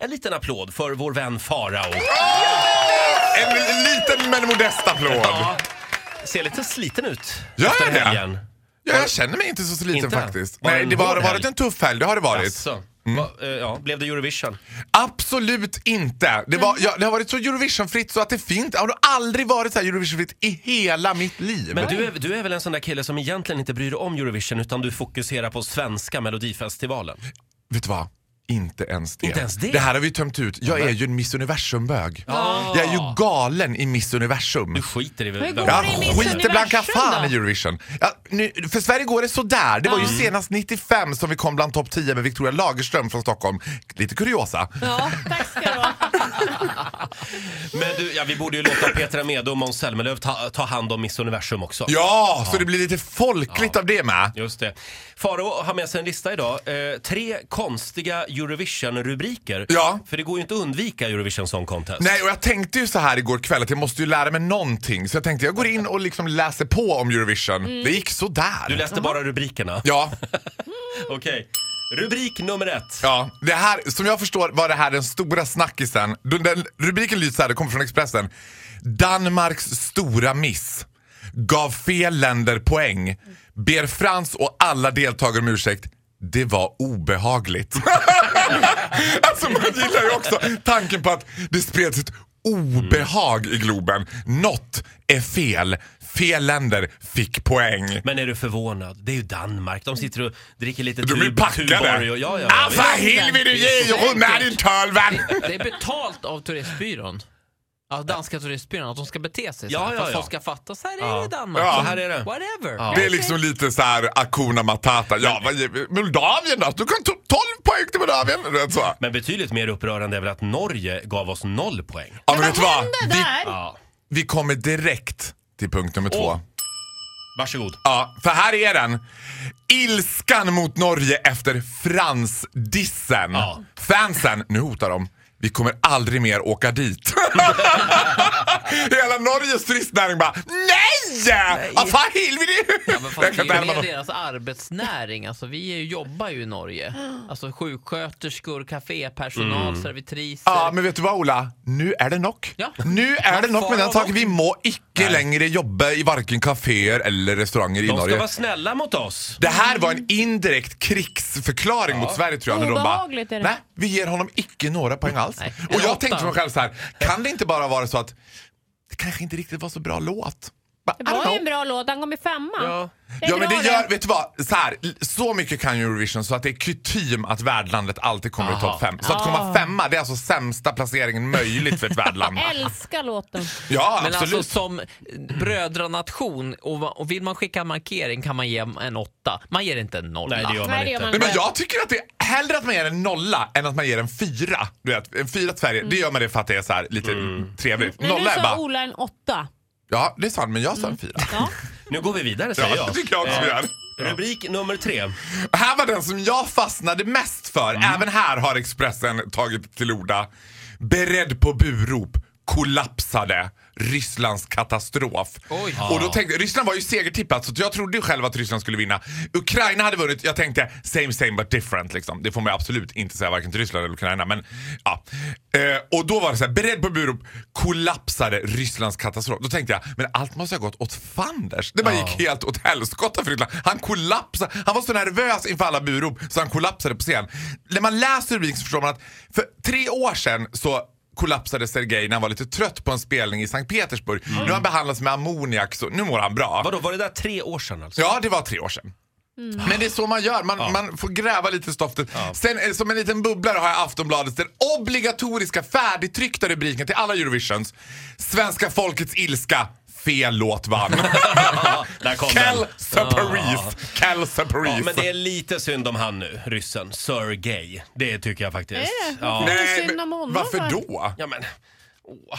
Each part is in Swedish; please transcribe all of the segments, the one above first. en liten applåd för vår vän Farao. En liten men modest applåd. Ja, ser lite sliten ut Gör efter jag det? helgen. Ja, jag känner mig inte så sliten Inte? faktiskt. Var det Nej, en det var- hård har varit helg? en tuff helg, det har det varit. Jaså? Mm. Va, eh, ja, blev det Eurovision? Absolut inte. Det, var, ja, det har varit så Eurovisionfritt så att det fint. Har det aldrig varit så här Eurovisionfritt i hela mitt liv. Men du är, du är väl en sån där kille som egentligen inte bryr dig om Eurovision utan du fokuserar på svenska melodifestivalen? Vet du vad? Inte ens det. Inte ens det? här har vi tömt ut. Jag är ju en Miss Universum-bög. Jag är ju galen i Miss Universum. Du skiter i vem går Jag det i Miss skiter blanka Universum fan då? i Eurovision. Ja, nu, för Sverige går det sådär. Det var ju senast 95 som vi kom bland topp 10 med Victoria Lagerström från Stockholm. Lite kuriosa. Ja, tack ska du ha. Men du, ja, vi borde ju låta Petra Mede och Måns Zelmerlöw ta, ta hand om Miss Universum också. Ja, så det blir lite folkligt av det med. Just det. Faro har med sig en lista idag. Eh, tre konstiga Eurovision-rubriker. Ja. För det går ju inte att undvika Eurovision Song Contest. Nej, och jag tänkte ju så här igår kväll att jag måste ju lära mig någonting. Så jag tänkte jag går in och liksom läser på om Eurovision. Det gick sådär. Du läste bara rubrikerna. Ja, Okej. Rubrik nummer ett. ja. Det här, som jag förstår var det här den stora snackisen. Den, den, rubriken lyder så här, det kommer från Expressen. Danmarks stora miss. Gav fel länder poäng. Ber Frans och alla deltagare om ursäkt. Det var obehagligt. alltså man gillar ju också tanken på att det spreds ett obehag i Globen. Något är fel. Fel länder fick poäng. Men är du förvånad? Det är ju Danmark. De sitter och dricker lite De är Tub- packade! Tuborg och, ja, ja, ah, visst. vad helvete ge och hon är din tölven! Det är betalt av turistbyrån. Av danska turistbyrån, att de ska bete sig så Ja, här, ja, för att ja. folk ska fatta. Så här Ja. är det i Danmark. Ja. Ja. Så här är det. Whatever. Ja. Det är liksom lite så här Akuna Matata. Ja, vad ge, Moldavien då? Du kan ta 12 poäng till Moldavien. Du vet så. Men betydligt mer upprörande är väl att Norge gav oss noll poäng. Ja, men Vad vet du vad? hände Vi, där? Ja. vi kommer direkt till punkt nummer två. Åh. Varsågod. Ja, för här är den. Ilskan mot Norge efter fransdissen. Ja. Fansen, nu hotar de. Vi kommer aldrig mer åka dit. Hela Norges turistnäring bara nej! Vad fan helvete! Ja, men fan, Jag det kan inte är ju härma med något. deras arbetsnäring. Alltså, vi är ju, jobbar ju i Norge. Alltså sjuksköterskor, kafépersonal, Mm. servitriser. Ja, men vet du vad Ola? Nu är det nog. Ja. Nu är det nog med den saken. Vi må icke längre jobba i varken kaféer eller restauranger i De ska Norge. vara snälla mot oss. Det här var en indirekt krigsförklaring mot Sverige tror jag. När de bara, Obehagligt är det. nej, vi ger honom icke några poäng alls. Nej. Och Eller jag åtta. tänkte för mig själv så här, kan det inte bara vara så att det kanske inte riktigt var så bra låt? Bara, I Det don't var ju know. en bra låt, han kom i femma. Ja. Det är Ja men bra det gör, vet du vad? Så, här, l- så mycket kan ju Eurovision så att det är kutym att värdlandet alltid kommer i topp fem. Så att Ah. komma femma det är alltså sämsta placeringen möjligt för ett värdland. Älskar låten. Ja Men absolut. alltså som brödranation, och, och vill man skicka en markering kan man ge en åtta. Man ger inte en nolla. Nej, det gör man Nej, det gör inte. man Nej, men jag tycker att det är hellre att man ger en nolla än att man ger en fyra. Du vet, en fyra till Sverige, det gör man det för att det är så här lite trevligt. Mm. Men Nolla du är sa Mm. bara, Ola en åtta. ja det är sant men jag sa en fyra. Ja. Nu går vi vidare säger Ja, det tycker jag också Eh, vi gör. Rubrik nummer tre. Här var den som jag fastnade mest för. Även här har Expressen tagit till orda. Beredd på burop. Kollapsade Rysslands katastrof. Oj. Och då tänkte, Ryssland var ju segertippat så jag trodde ju själv att Ryssland skulle vinna. Ukraina hade vunnit. Jag tänkte same same but different. Liksom. Det får man ju absolut inte säga varken till Ryssland eller Ukraina. Men, ja. eh, och då var det så här, beredd på burop. Kollapsade Rysslands katastrof. Då tänkte jag, men allt måste ha gått åt fanders. Det bara gick helt åt helskotta för Ryssland. Han kollapsade. Han var så nervös inför alla burop så han kollapsade på scen. När man läser rubriken så förstår man att för tre år sedan så kollapsade Sergej när han var lite trött på en spelning i Sankt Petersburg. Nu har han behandlats med ammoniak så nu mår han bra. Vadå, var det där tre år sedan alltså? Ja, det var tre år sedan. Men det är så man gör, man, man får gräva lite i stoftet. Sen eh, som en liten bubblare har jag Aftonbladets den obligatoriska färdigtryckta rubriken till alla Eurovisions. Svenska folkets ilska, fel låt vann. Ja, där kom Kel den. Separis, Kel Ja, men Separis. det är lite synd om han nu, ryssen. Sergej. Det tycker jag faktiskt. Är det? Ja. Varför är det synd om honom? varför för? då? ja, men... Åh.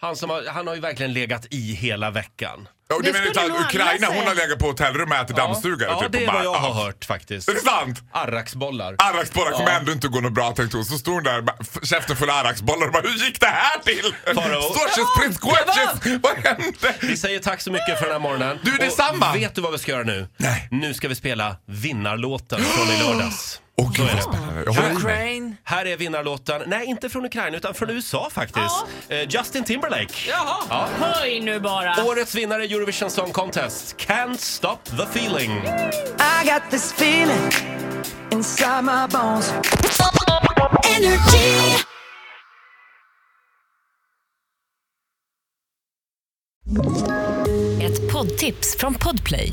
Han, som har, han har ju verkligen legat i hela veckan. Ja, och Det Du menar inte skulle nog att alla Ukraina, hon säga. har legat på hotellrum och ätit dammsugare? Ja, typ, det och är bara, vad jag "Ah." har hört faktiskt. Är det sant? Arraksbollar. Arraksbollar kommer ändå inte gå något bra tänkte hon. Så stod hon där med f- käften full av arraksbollar och bara hur gick det här till? Farao. Sorches prins Gorgeous, vad hände? Vi säger tack så mycket för den här morgonen. Du, Och detsamma. Vet du vad vi ska göra nu? Nej. Nu ska vi spela vinnarlåten från i lördags. Åh gud är det. vad spännande. Jag håller med. Ukraine. Här är vinnarlåten. Nej, inte från Ukraina utan från USA faktiskt. Eh, Justin Timberlake. Jaha! Höj nu bara! Årets vinnare i Eurovision Song Contest. Can't stop the feeling. I got this feeling inside my bones. Energy. Ett poddtips från Podplay.